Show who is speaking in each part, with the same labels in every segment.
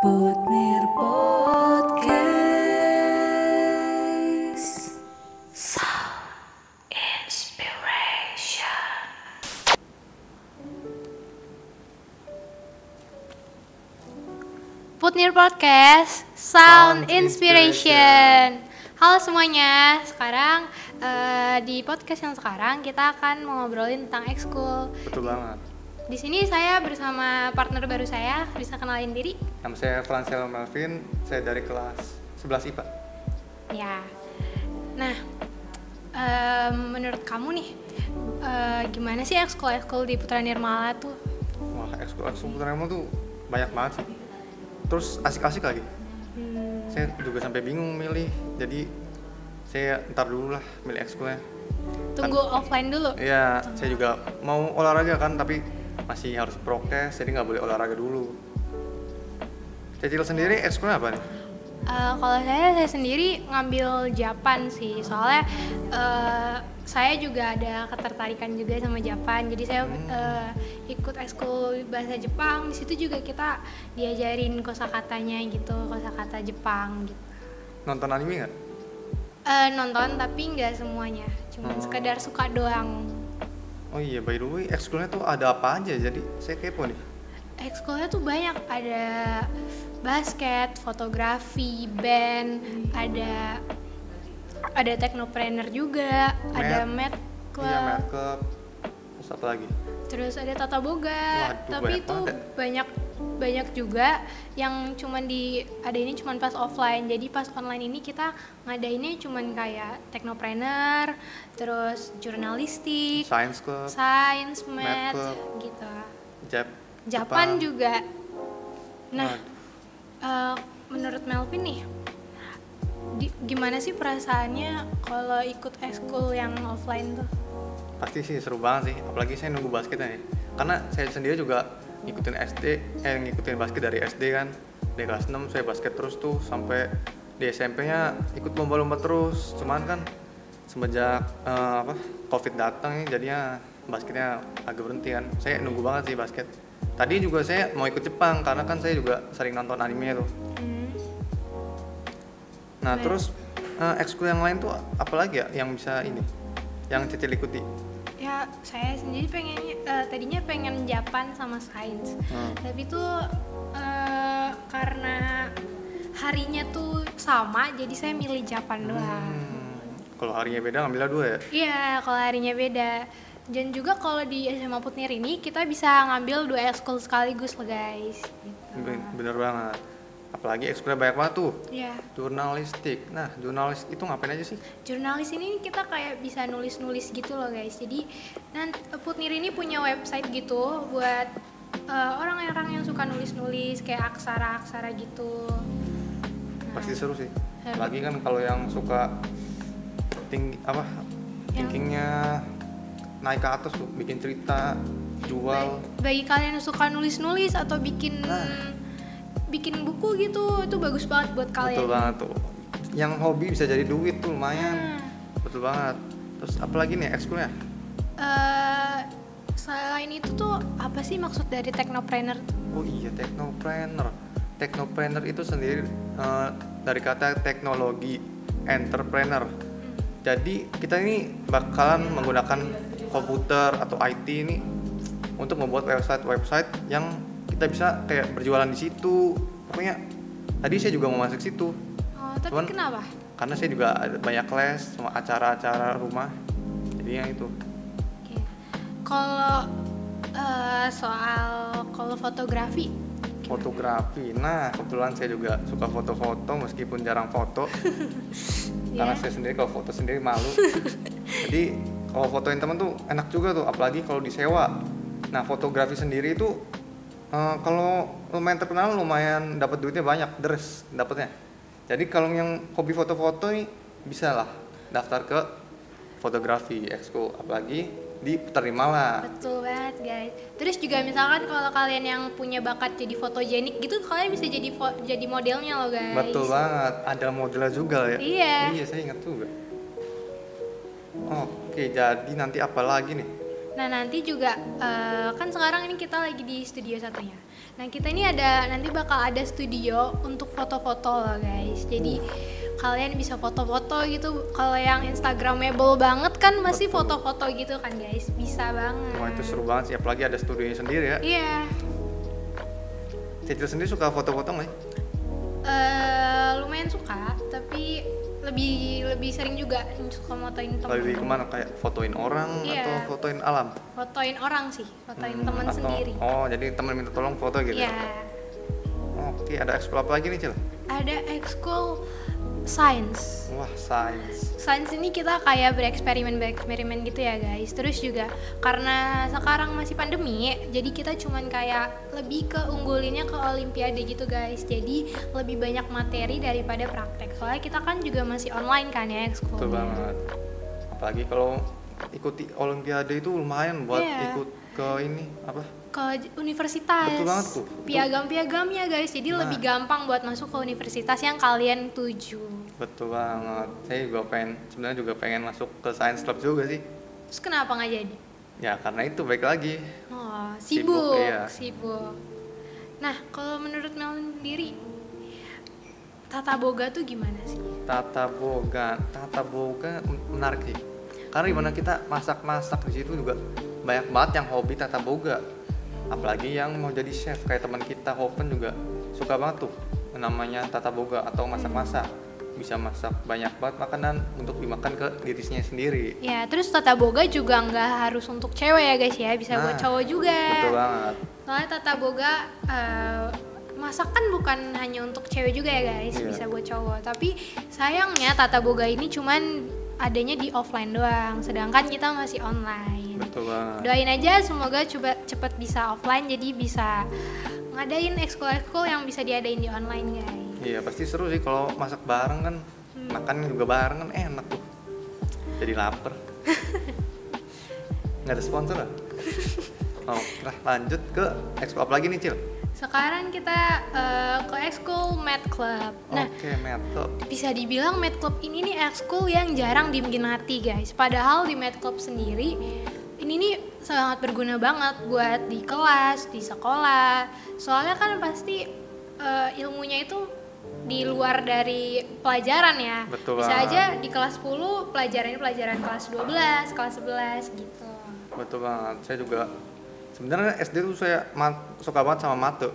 Speaker 1: Putmir Podcast Sound Inspiration
Speaker 2: Putnir Podcast Sound
Speaker 3: Sound
Speaker 2: Inspiration. Halo semuanya, sekarang eh, di podcast yang sekarang kita akan ngobrolin tentang ekskul.
Speaker 3: Betul banget.
Speaker 2: Di sini saya bersama partner baru saya, bisa kenalin diri?
Speaker 3: Nama saya Fransel Melvin, saya dari kelas 11 IPA.
Speaker 2: Ya. Nah, em, menurut kamu nih, eh, gimana sih ekskul-ekskul di Putra Nirmala tuh?
Speaker 3: Wah, ekskul ekskul Putrajaya tuh banyak banget sih. Terus asik-asik lagi.
Speaker 2: Hmm,
Speaker 3: Saya juga sampai bingung milih. Jadi saya ntar dulu lah milih ekskulnya.
Speaker 2: tunggu offline dulu.
Speaker 3: Iya, saya juga mau olahraga kan, tapi masih harus prokes, jadi nggak boleh olahraga dulu. Cecil sendiri ekskulnya apa nih?
Speaker 2: Eh, kalau saya saya sendiri ngambil Japan sih soalnya eh, saya juga ada ketertarikan juga sama Japan jadi saya
Speaker 3: Hmm.
Speaker 2: eh, ikut ekskul bahasa Jepang di situ juga kita diajarin kosakatanya gitu kosakata Jepang gitu
Speaker 3: Nonton anime nggak?
Speaker 2: Eh, nonton tapi nggak semuanya cuman
Speaker 3: Oh.
Speaker 2: sekedar suka doang
Speaker 3: Oh iya, by the way, ekskulnya tuh ada apa aja? Jadi saya kepo nih.
Speaker 2: ekskulnya tuh banyak ada basket, fotografi, band, ada ada teknopreneur juga, ada med
Speaker 3: Med.
Speaker 2: club,
Speaker 3: Iya, makeup. Terus apa lagi?
Speaker 2: terus ada tata boga.
Speaker 3: Waduh,
Speaker 2: Tapi
Speaker 3: banyak
Speaker 2: itu
Speaker 3: banget ya.
Speaker 2: banyak banyak juga yang cuman di ada ini cuman pas offline. Jadi pas online ini kita ngadainnya cuman kayak teknopreneur, terus jurnalistik,
Speaker 3: Science Club,
Speaker 2: science,
Speaker 3: Med
Speaker 2: med,
Speaker 3: club.
Speaker 2: gitu.
Speaker 3: Jap-
Speaker 2: Japan juga. Nah,
Speaker 3: Waduh.
Speaker 2: eh, menurut Melvin nih, di- gimana sih perasaannya kalau ikut ekskul yang offline tuh?
Speaker 3: Pasti sih seru banget sih, apalagi saya nunggu basketnya nih. Karena saya sendiri juga ngikutin SD, eh ngikutin basket dari SD kan. Dari kelas 6 saya basket terus tuh sampai di SMP-nya ikut lomba-lomba terus. Cuman kan semenjak eh, apa Covid datang nih jadinya basketnya agak berhenti kan. Saya nunggu banget sih basket. Tadi juga saya mau ikut Jepang karena kan saya juga sering nonton anime tuh. Nah,
Speaker 2: Baik.
Speaker 3: terus eh, ekskul yang lain tuh apalagi ya yang bisa ini? Yang Cecil ikuti.
Speaker 2: Ya, saya sendiri pengen eh, tadinya pengen Japan sama sains,
Speaker 3: Hmm.
Speaker 2: tapi tuh eh, karena harinya tuh sama, jadi saya milih Japan doang.
Speaker 3: Hmm, Kalau harinya beda ngambilnya dua ya.
Speaker 2: Iya, kalau harinya beda. Dan juga kalau di SMA Putnir ini kita bisa ngambil dua ekskul sekaligus loh guys. Gitu.
Speaker 3: Ben- Bener banget. Apalagi ekskulnya banyak banget tuh.
Speaker 2: Iya,
Speaker 3: Jurnalistik. Nah, jurnalis itu ngapain aja sih?
Speaker 2: Hmm. jurnalis ini kita kayak bisa nulis-nulis gitu loh guys. Jadi nanti Putnir ini punya website gitu buat eh, orang-orang yang suka nulis-nulis kayak aksara-aksara gitu. Nah,
Speaker 3: Pasti seru sih.
Speaker 2: Seru.
Speaker 3: Apalagi kan kalau yang suka tinggi apa
Speaker 2: Yang-
Speaker 3: thinkingnya naik ke atas tuh, bikin cerita, jual.
Speaker 2: Ba- Bagi kalian yang suka nulis-nulis atau bikin
Speaker 3: Nah.
Speaker 2: bikin buku gitu, itu bagus banget buat kalian.
Speaker 3: Betul banget tuh. Yang hobi bisa jadi duit tuh lumayan.
Speaker 2: Nah.
Speaker 3: Betul banget. Terus apalagi nih ekskulnya?
Speaker 2: eh selain itu tuh apa sih maksud dari teknopreneur?
Speaker 3: Oh iya, technopreneur. Technopreneur itu sendiri eh, dari kata teknologi entrepreneur. Jadi kita ini bakalan menggunakan komputer atau IT ini untuk membuat website-website yang kita bisa kayak berjualan di situ. Pokoknya tadi saya juga mau masuk situ
Speaker 2: Oh, tapi
Speaker 3: Cuman-
Speaker 2: kenapa?
Speaker 3: karena saya juga ada banyak les sama acara-acara rumah. Jadi yang itu.
Speaker 2: Oke. Kalau eh, soal kalau fotografi,
Speaker 3: fotografi. Nah, kebetulan saya juga suka foto-foto meskipun jarang foto. Karena
Speaker 2: Iya.
Speaker 3: saya sendiri kalau foto sendiri malu. Jadi, kalau fotoin teman tuh enak juga tuh, apalagi kalau disewa. Nah, fotografi sendiri itu eh, kalau lumayan terkenal lumayan dapat duitnya banyak, deres dapatnya. Jadi, kalau yang hobi foto-foto nih bisa lah daftar ke fotografi ekskul apalagi di Putarlimala.
Speaker 2: betul banget guys. Terus juga misalkan kalau kalian yang punya bakat jadi fotogenik gitu, kalian bisa jadi fo- jadi modelnya loh guys.
Speaker 3: Betul banget, ada modelnya juga ya.
Speaker 2: Iya.
Speaker 3: Iya, saya ingat juga. Oke, jadi nanti apa lagi nih?
Speaker 2: Nah nanti juga eh, kan sekarang ini kita lagi di studio satunya. Nah kita ini ada nanti bakal ada studio untuk foto-foto loh guys. Jadi kalian bisa foto-foto gitu. Kalau yang Instagramable banget kan masih
Speaker 3: Betul.
Speaker 2: foto-foto gitu kan guys. Bisa banget.
Speaker 3: Wah itu seru banget sih, apalagi ada studionya sendiri ya.
Speaker 2: Iya.
Speaker 3: Cecil sendiri suka foto-foto nggak sih?
Speaker 2: Eh, lumayan suka, tapi lebih lebih sering juga suka motoin temen.
Speaker 3: Lebih kemana? Kayak fotoin orang
Speaker 2: Iya.
Speaker 3: atau fotoin alam?
Speaker 2: Fotoin orang sih, fotoin
Speaker 3: Hmm,
Speaker 2: temen
Speaker 3: atau-
Speaker 2: sendiri.
Speaker 3: Oh, jadi teman minta tolong foto gitu.
Speaker 2: Iya.
Speaker 3: Oke, ada ekskul apa lagi nih, Cil?
Speaker 2: Ada ekskul science.
Speaker 3: Wah, sains.
Speaker 2: Sains ini kita kayak bereksperimen bereksperimen gitu ya guys. Terus juga karena sekarang masih pandemi, jadi kita cuman kayak lebih ke unggulinnya ke olimpiade gitu guys. Jadi lebih banyak materi daripada praktek. Soalnya kita kan juga masih online kan ya ekskul.
Speaker 3: Betul banget. Apalagi kalau ikuti olimpiade itu lumayan buat
Speaker 2: Iya.
Speaker 3: ikut ke ini apa?
Speaker 2: ke j- universitas.
Speaker 3: Betul banget tuh. Betul.
Speaker 2: Piagam-piagamnya guys, jadi
Speaker 3: Nah.
Speaker 2: lebih gampang buat masuk ke universitas yang kalian tuju.
Speaker 3: Betul banget. Saya juga pengen sebenarnya juga pengen masuk ke science club juga sih.
Speaker 2: Terus kenapa nggak jadi?
Speaker 3: Ya, karena itu baik lagi.
Speaker 2: Oh,
Speaker 3: Sibuk,
Speaker 2: sibuk, sibuk.
Speaker 3: iya.
Speaker 2: Nah, kalau menurut Mel sendiri, tata boga tuh gimana sih?
Speaker 3: Tata boga, tata boga men- menarik sih. Karena dimana kita masak-masak di situ juga banyak banget yang hobi tata boga. Apalagi yang mau jadi chef kayak teman kita Hoven juga suka banget tuh namanya tata boga atau masak-masak. Bisa masak banyak banget makanan untuk dimakan ke dirinya sendiri.
Speaker 2: Ya, terus tata boga juga nggak harus untuk cewek ya guys ya, bisa buat
Speaker 3: Nah,
Speaker 2: cowok juga.
Speaker 3: Betul banget.
Speaker 2: Soalnya tata boga eh, masakan bukan hanya untuk cewek juga ya guys,
Speaker 3: Iya.
Speaker 2: bisa buat cowok. Tapi sayangnya tata boga ini cuman adanya di offline doang, sedangkan kita masih online.
Speaker 3: Betul banget.
Speaker 2: Doain aja semoga coba cepet bisa offline jadi bisa ngadain ekskul-ekskul yang bisa diadain di online guys.
Speaker 3: Iya pasti seru sih kalau masak bareng kan
Speaker 2: Hmm.
Speaker 3: makan juga bareng kan enak tuh jadi lapar nggak ada sponsor ah? oh lah lanjut ke ekskul apa lagi nih cil
Speaker 2: Sekarang kita eh, ke ekskul Mad Club. Nah,
Speaker 3: oke metal
Speaker 2: bisa dibilang Med Club ini nih ekskul yang jarang diminati guys. Padahal di Med Club sendiri ini nih sangat berguna banget buat di kelas, di sekolah. Soalnya kan pasti eh, ilmunya itu di luar dari pelajaran ya.
Speaker 3: Betul
Speaker 2: Bisa
Speaker 3: banget.
Speaker 2: aja di kelas 10 pelajarannya pelajaran kelas 12, kelas 11 gitu.
Speaker 3: betul banget saya juga sebenarnya SD tuh saya ma- suka banget sama mate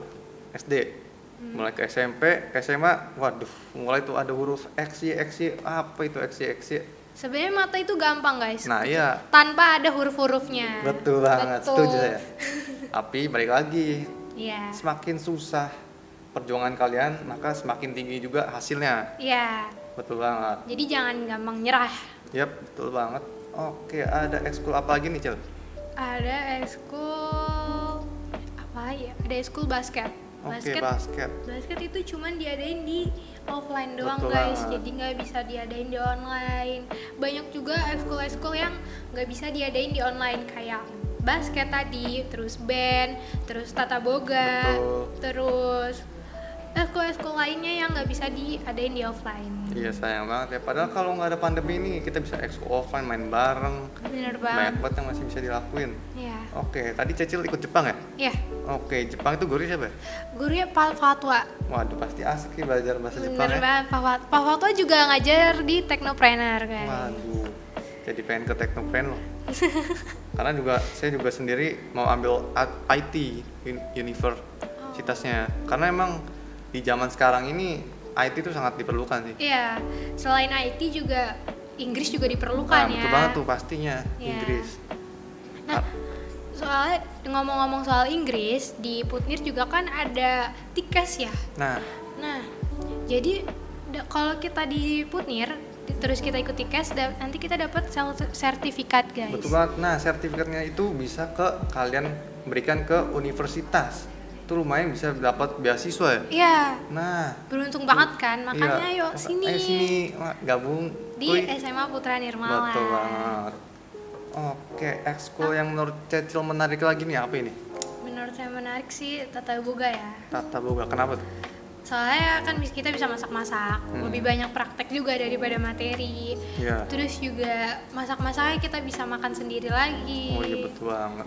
Speaker 3: SD
Speaker 2: Hmm.
Speaker 3: mulai ke SMP ke SMA waduh mulai tuh ada huruf X Y X Y apa itu X Y X Y
Speaker 2: Sebenarnya mata itu gampang guys.
Speaker 3: nah iya
Speaker 2: Tanpa ada huruf-hurufnya.
Speaker 3: betul banget
Speaker 2: Betul.
Speaker 3: setuju saya tapi balik lagi
Speaker 2: Iya.
Speaker 3: semakin susah perjuangan kalian maka semakin tinggi juga hasilnya
Speaker 2: Iya.
Speaker 3: betul banget
Speaker 2: Jadi jangan gampang nyerah.
Speaker 3: yap betul banget oke ada ekskul apa lagi nih cil
Speaker 2: ada ekskul apa ya ada ekskul basket
Speaker 3: oke
Speaker 2: basket
Speaker 3: basket
Speaker 2: basket itu cuman diadain di offline doang
Speaker 3: Betul
Speaker 2: guys
Speaker 3: banget.
Speaker 2: jadi nggak bisa diadain di online banyak juga ekskul ekskul yang nggak bisa diadain di online kayak basket tadi terus band terus tata boga
Speaker 3: Betul.
Speaker 2: terus ekskul ekskul lainnya yang nggak bisa diadain di offline
Speaker 3: iya sayang banget ya padahal kalau nggak ada pandemi ini kita bisa ekskul offline main bareng
Speaker 2: bener
Speaker 3: banyak
Speaker 2: banget
Speaker 3: banget yang masih bisa dilakuin
Speaker 2: ya
Speaker 3: oke tadi cecil ikut Jepang ya
Speaker 2: ya
Speaker 3: oke Jepang itu guru siapa ya?
Speaker 2: gurunya Pak Fatwa
Speaker 3: waduh pasti asik nih belajar bahasa Jepang
Speaker 2: Bener
Speaker 3: ya
Speaker 2: banget, Pak Fat- Pak Fatwa juga ngajar di Teknopreneur kan? guys
Speaker 3: waduh jadi pengen ke teknoprint loh karena juga saya juga sendiri mau ambil A- IT un-
Speaker 2: Oh.
Speaker 3: universitasnya karena emang di zaman sekarang ini IT itu sangat diperlukan sih
Speaker 2: Iya, selain IT juga Inggris juga diperlukan
Speaker 3: Nah,
Speaker 2: ya
Speaker 3: betul banget tuh pastinya
Speaker 2: Iya.
Speaker 3: Inggris
Speaker 2: Nah,
Speaker 3: Ah.
Speaker 2: soalnya ngomong-ngomong soal Inggris Di Putnir juga kan ada tikes ya
Speaker 3: nah
Speaker 2: Nah, jadi da- kalau kita di Putnir di- Terus kita ikut tikes, da- nanti kita dapat sel- sertifikat guys
Speaker 3: betul banget nah sertifikatnya itu bisa ke kalian berikan ke universitas itu lumayan bisa dapat beasiswa ya
Speaker 2: Iya,
Speaker 3: nah
Speaker 2: beruntung banget kan Makanya
Speaker 3: iya.
Speaker 2: yuk sini,
Speaker 3: ayo sini Wah, gabung
Speaker 2: Di
Speaker 3: Kuy.
Speaker 2: SMA Putra Nirmala
Speaker 3: Betul banget. Oke, ekskul yang menurut Cecil menarik lagi nih apa ini?
Speaker 2: Menurut saya menarik sih Tata Boga ya
Speaker 3: Tata boga kenapa tuh?
Speaker 2: soalnya kan bis- kita bisa masak-masak
Speaker 3: Hmm.
Speaker 2: lebih banyak praktek juga daripada materi
Speaker 3: Iya.
Speaker 2: terus juga masak-masaknya kita bisa makan sendiri lagi
Speaker 3: Oh iya betul banget.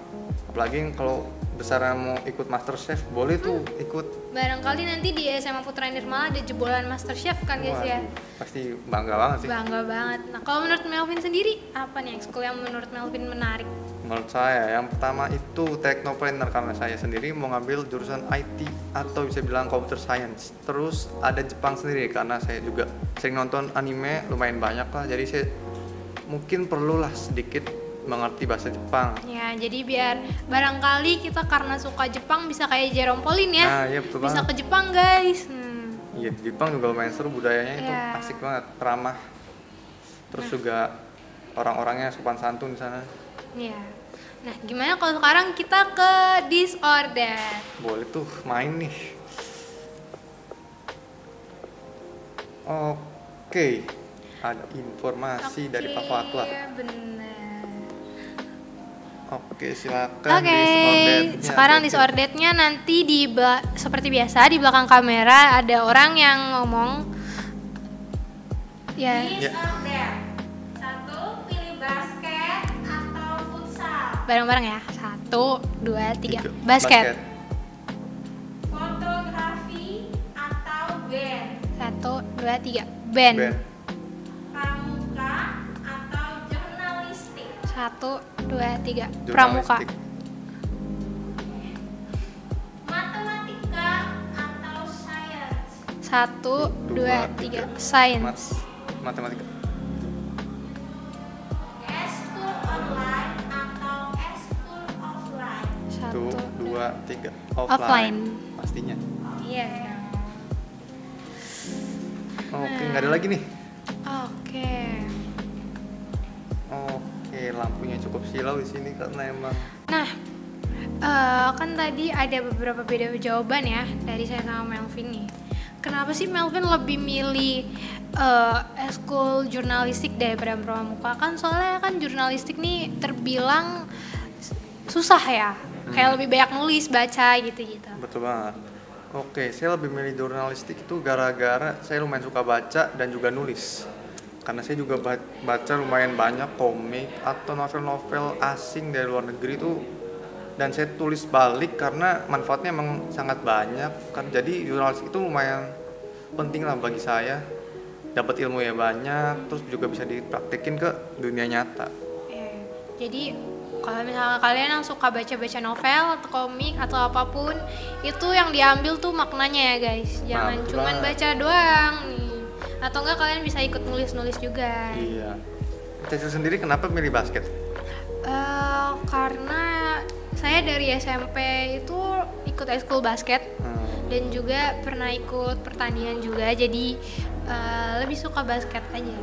Speaker 3: Apalagi yang kalau besarnya mau ikut MasterChef boleh tuh
Speaker 2: Hmm.
Speaker 3: ikut.
Speaker 2: barangkali nanti di SMA Putra Nirmala ada jebolan MasterChef kan guys ya
Speaker 3: Waduh, pasti bangga banget sih.
Speaker 2: bangga banget nah kalau menurut Melvin sendiri apa nih ekskul yang menurut Melvin menarik
Speaker 3: Menurut saya yang pertama itu teknopreneur karena saya sendiri mau ngambil jurusan IT atau bisa bilang computer science. Terus ada Jepang sendiri karena saya juga sering nonton anime lumayan banyak lah. Jadi saya mungkin perlulah sedikit mengerti bahasa Jepang.
Speaker 2: ya jadi biar barangkali kita karena suka Jepang bisa kayak Jerome Pauline ya
Speaker 3: Nah, iya, betul
Speaker 2: bisa
Speaker 3: banget.
Speaker 2: ke Jepang guys Hmm.
Speaker 3: Iya di Jepang juga lumayan seru budayanya itu
Speaker 2: Iya.
Speaker 3: asik banget ramah. Terus juga orang-orangnya sopan santun di sana.
Speaker 2: Iya. Nah, gimana kalau sekarang kita ke disorder?
Speaker 3: Boleh tuh main nih. Oke, ada informasi dari Pak Fatwa.
Speaker 2: Iya, benar.
Speaker 3: Oke, silakan.
Speaker 2: Oke,
Speaker 3: Kan disordernya.
Speaker 2: sekarang disordetnya nanti di bela- seperti biasa di belakang kamera ada orang yang ngomong. Ya,
Speaker 3: Ya,
Speaker 1: Satu, pilih basket atau futsal.
Speaker 2: bareng-bareng ya. Satu, dua, tiga.
Speaker 3: tiga.
Speaker 2: Basket.
Speaker 1: Fotografi atau band.
Speaker 2: Satu, dua, tiga.
Speaker 3: Band.
Speaker 2: Band.
Speaker 1: Pramuka atau jurnalistik.
Speaker 2: Satu, dua, tiga. Pramuka.
Speaker 3: Jurnalistik.
Speaker 1: Matematika atau sains.
Speaker 2: Satu,
Speaker 3: Dua,
Speaker 2: dua, tiga.
Speaker 3: tiga. Mat-
Speaker 2: Science.
Speaker 3: matematika.
Speaker 1: Eskul online atau eskul offline.
Speaker 3: Satu,
Speaker 2: Satu,
Speaker 3: dua, tiga. Offline.
Speaker 2: Offline.
Speaker 3: Pastinya.
Speaker 2: Iya.
Speaker 3: Oke, nggak ada lagi nih.
Speaker 2: Oke.
Speaker 3: Oke, lampunya cukup silau di sini karena emang
Speaker 2: Nah, eh, kan tadi ada beberapa beda jawaban ya dari saya sama Melvin nih. Kenapa sih Melvin lebih milih eh, eskul jurnalistik daripada pramuka? Kan soalnya kan jurnalistik nih terbilang s- susah ya. Kayak lebih banyak nulis, baca gitu-gitu.
Speaker 3: Betul banget. Oke, saya lebih milih jurnalistik itu gara-gara saya lumayan suka baca dan juga nulis. Karena saya juga ba- baca lumayan banyak komik atau novel-novel asing dari luar negeri itu dan saya tulis balik karena manfaatnya emang sangat banyak. Kan jadi jurnalistik itu lumayan penting lah bagi saya. Dapat ilmu ya banyak, terus juga bisa dipraktekin ke dunia nyata.
Speaker 2: Eh, Jadi kalau misalnya kalian yang suka baca-baca novel atau komik atau apapun itu yang diambil tuh maknanya ya guys. Jangan
Speaker 3: Betul
Speaker 2: cuman
Speaker 3: banget.
Speaker 2: baca doang nih. Atau enggak kalian bisa ikut nulis-nulis juga.
Speaker 3: Iya. Caca sendiri kenapa milih basket?
Speaker 2: Eh, karena saya dari SMP itu ikut ekskul basket
Speaker 3: Hmm,
Speaker 2: dan juga pernah ikut pertanian juga. Jadi eh, lebih suka basket aja.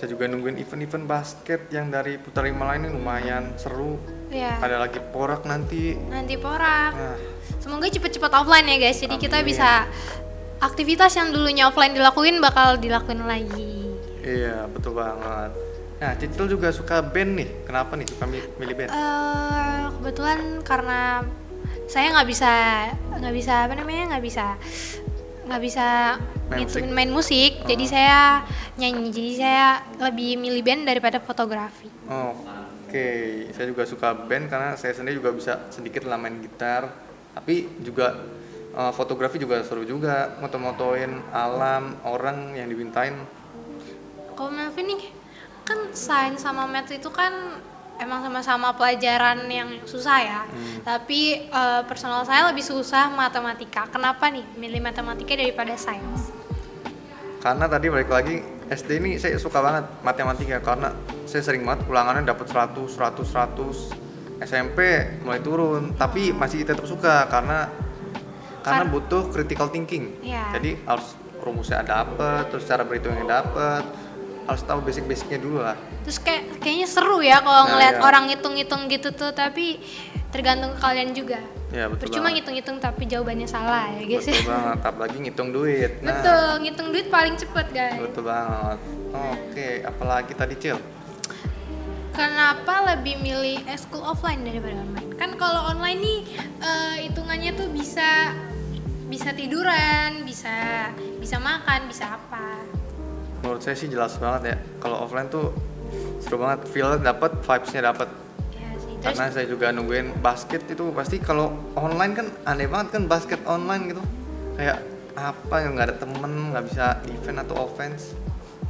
Speaker 3: Saya juga nungguin event-event basket yang dari Putra Himala ini lumayan seru.
Speaker 2: Ya.
Speaker 3: Ada lagi porak nanti.
Speaker 2: Nanti porak.
Speaker 3: Nah,
Speaker 2: Semoga cepet-cepet offline ya guys. Jadi kita
Speaker 3: Amin.
Speaker 2: bisa aktivitas yang dulunya offline dilakuin bakal dilakuin lagi.
Speaker 3: iya betul banget. Nah, Cicil juga suka band nih. Kenapa nih suka mi- milih band?
Speaker 2: eh kebetulan karena saya nggak bisa nggak bisa apa namanya nggak bisa nggak bisa
Speaker 3: Main
Speaker 2: ngitungin
Speaker 3: musik. Ah.
Speaker 2: main musik. Jadi saya nyanyi. Jadi saya lebih milih band daripada fotografi.
Speaker 3: Oke, saya juga suka band karena saya sendiri juga bisa sedikit lah main gitar. Tapi juga eh, fotografi juga seru juga. Moto-motoin alam, orang yang dibintain.
Speaker 2: Kalau Melvin nih kan sains sama math itu kan emang sama-sama pelajaran yang susah ya.
Speaker 3: Hmm.
Speaker 2: Tapi eh, personal saya lebih susah matematika. Kenapa nih milih matematika daripada sains?
Speaker 3: karena tadi balik lagi SD ini saya suka banget matematika karena saya sering banget ulangannya dapat 100 100 100 SMP mulai turun tapi masih tetap suka karena karena
Speaker 2: Kar-
Speaker 3: butuh critical thinking
Speaker 2: Iya.
Speaker 3: jadi harus rumusnya dapet terus cara berhitungnya dapet harus tahu basic-basicnya dulu lah
Speaker 2: Terus kayak kayaknya seru ya kalau
Speaker 3: Nah,
Speaker 2: ngelihat
Speaker 3: iya.
Speaker 2: orang ngitung-ngitung gitu tuh, tapi tergantung ke kalian juga.
Speaker 3: ya betul
Speaker 2: Percuma
Speaker 3: banget
Speaker 2: ngitung-ngitung tapi jawabannya salah ya guys.
Speaker 3: betul banget apalagi ngitung duit nah
Speaker 2: Betul, ngitung duit paling cepet guys.
Speaker 3: betul banget oke apalagi tadi cil
Speaker 2: Kenapa lebih milih eskul offline daripada online? Kan kalau online nih eh, hitungannya tuh bisa bisa tiduran bisa bisa makan bisa apa
Speaker 3: menurut saya sih jelas banget ya kalau offline tuh seru banget feel dapat vibesnya dapat
Speaker 2: ya sih terus
Speaker 3: karena saya juga nungguin basket itu pasti kalau online kan aneh banget kan basket online gitu kayak apa yang nggak ada temen nggak bisa defense atau offense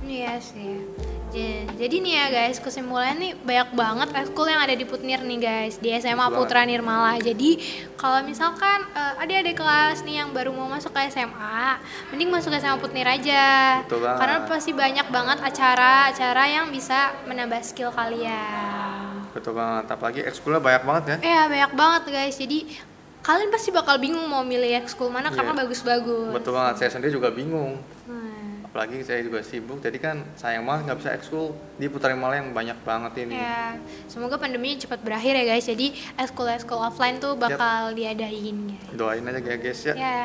Speaker 2: Iya sih. Ja- Jadi nih ya guys, kesimpulannya nih banyak banget ekskul yang ada di Putnir nih guys di SMA
Speaker 3: Betul
Speaker 2: Putra Nirmala. Jadi kalau misalkan eh, ada-ada kelas nih yang baru mau masuk ke SMA, mending masuk ke SMA Putnir aja.
Speaker 3: Betul banget.
Speaker 2: Karena pasti banyak banget acara-acara yang bisa menambah skill kalian.
Speaker 3: betul banget apalagi ekskulnya banyak banget ya
Speaker 2: Iya banyak banget guys. Jadi kalian pasti bakal bingung mau milih ekskul mana
Speaker 3: Iya.
Speaker 2: karena bagus-bagus.
Speaker 3: betul banget saya sendiri juga bingung
Speaker 2: Nah.
Speaker 3: apalagi saya juga sibuk jadi kan sayang banget nggak bisa ekskul di Putri Mala yang banyak banget ini
Speaker 2: Ya, semoga pandeminya cepat berakhir ya guys. Jadi eskul-eskul offline tuh bakal diadain guys.
Speaker 3: doain aja ya guys ya
Speaker 2: Ya.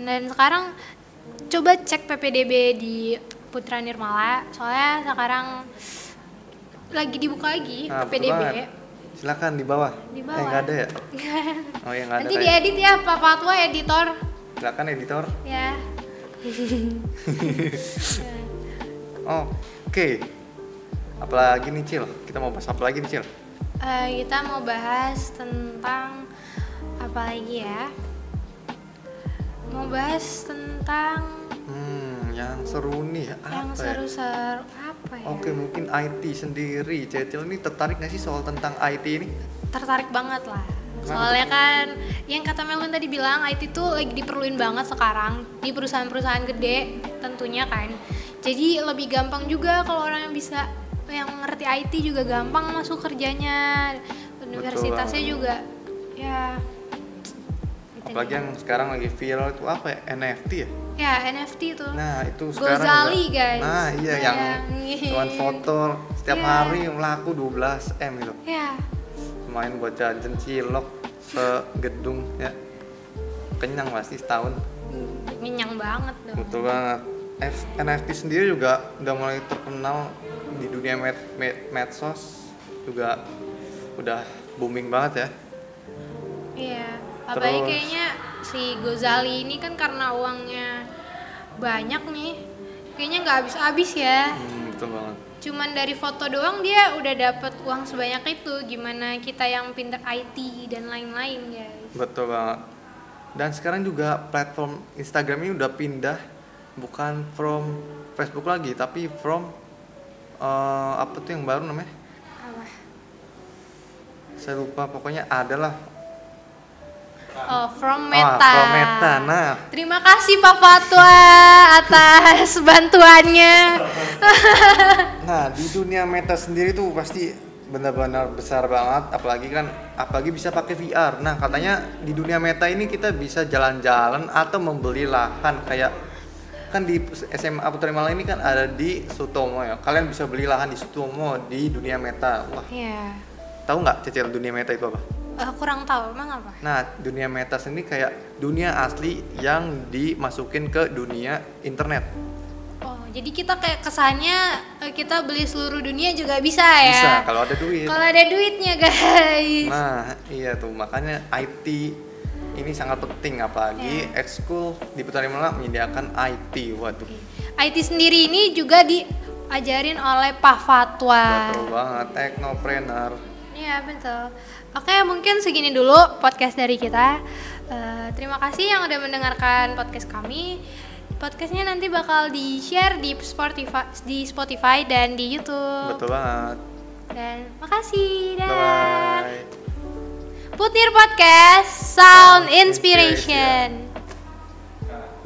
Speaker 2: Dan sekarang coba cek PPDB di Putra Nirmala. Soalnya sekarang lagi dibuka lagi
Speaker 3: Nah, betul
Speaker 2: PPDB.
Speaker 3: banget. silakan di bawah
Speaker 2: ya. Di
Speaker 3: eh
Speaker 2: bawah.
Speaker 3: nggak ada ya oh ya nggak ada
Speaker 2: Nanti
Speaker 3: kayaknya.
Speaker 2: diedit ya Pak Fatwa editor
Speaker 3: silakan editor
Speaker 2: ya.
Speaker 3: Oh, oke apalagi nih Cil kita mau bahas apa lagi nih Cil
Speaker 2: Eh, kita mau bahas tentang apa lagi ya? Mau bahas tentang
Speaker 3: hmm yang seru nih ya, apa
Speaker 2: yang
Speaker 3: ya?
Speaker 2: seru-seru apa ya?
Speaker 3: Oke, mungkin IT sendiri. Cecil ini tertarik nggak sih soal tentang IT ini?
Speaker 2: tertarik banget lah
Speaker 3: Kenapa
Speaker 2: soalnya kan yang kata Melvin tadi bilang IT tuh lagi diperluin banget sekarang di perusahaan-perusahaan gede tentunya kan jadi lebih gampang juga kalau orang yang bisa yang ngerti IT juga gampang masuk kerjanya universitasnya juga ya gitu deh.
Speaker 3: Apalagi yang sekarang lagi viral itu apa ya? NFT ya?
Speaker 2: ya NFT tuh
Speaker 3: Nah, itu sekarang
Speaker 2: Gozali
Speaker 3: juga-
Speaker 2: guys
Speaker 3: Nah, iya yang
Speaker 2: Bayangin.
Speaker 3: cuman foto setiap
Speaker 2: Iya.
Speaker 3: hari laku 12M gitu.
Speaker 2: ya
Speaker 3: Main buat jajan cilok segedung ya. Kenyang pasti setahun.
Speaker 2: kenyang banget dong
Speaker 3: Betul banget. F- NFT sendiri juga udah mulai terkenal di dunia med med- medsos juga udah booming banget ya.
Speaker 2: Iya, apalagi
Speaker 3: Terus-
Speaker 2: kayaknya si Gozali ini kan karena uangnya banyak nih, kayaknya nggak habis-habis ya.
Speaker 3: Hmm, betul banget.
Speaker 2: Cuman dari foto doang dia udah dapat uang sebanyak itu. Gimana kita yang pinter IT dan lain-lain guys?
Speaker 3: Betul banget. Dan sekarang juga platform Instagram ini udah pindah bukan from Facebook lagi tapi from eh, apa tuh yang baru namanya?
Speaker 2: Apa?
Speaker 3: Saya lupa pokoknya adalah
Speaker 2: Oh, from
Speaker 3: Ah,
Speaker 2: Meta.
Speaker 3: from Meta. Nah,
Speaker 2: Terima kasih Pak Fatwa atas bantuannya.
Speaker 3: nah di dunia Meta sendiri tuh pasti benar-benar besar banget apalagi kan apalagi bisa pakai VR. Nah, katanya di dunia Meta ini kita bisa jalan-jalan atau membeli lahan kayak kan di SMA Putri Malang ini kan ada di Sutomo ya. Kalian bisa beli lahan di Sutomo di dunia meta. Wah,
Speaker 2: Iya,
Speaker 3: tahu nggak Cecil dunia meta itu apa?
Speaker 2: Eh, kurang tahu emang apa?
Speaker 3: Nah, dunia meta sendiri kayak dunia asli yang dimasukin ke dunia internet.
Speaker 2: Oh, jadi kita kayak kesannya eh, kita beli seluruh dunia juga bisa ya?
Speaker 3: Bisa kalau ada duit.
Speaker 2: Kalau ada duitnya guys.
Speaker 3: Nah, iya tuh makanya IT ini sangat penting apalagi ekskul di Putri Malang menyediakan IT. Waduh,
Speaker 2: Iya. IT sendiri ini juga diajarin oleh Pak Fatwa.
Speaker 3: betul banget teknopreneur.
Speaker 2: Iya betul. Oke mungkin segini dulu podcast dari kita. Eh, terima kasih yang udah mendengarkan podcast kami. Podcastnya nanti bakal di share di Spotify, di Spotify dan di YouTube.
Speaker 3: Betul banget.
Speaker 2: Dan makasih.
Speaker 3: Bye
Speaker 2: Dah.
Speaker 3: bye.
Speaker 2: Putnir Podcast Sound
Speaker 3: Sound Inspiration.
Speaker 2: Inspiration.
Speaker 3: Nah.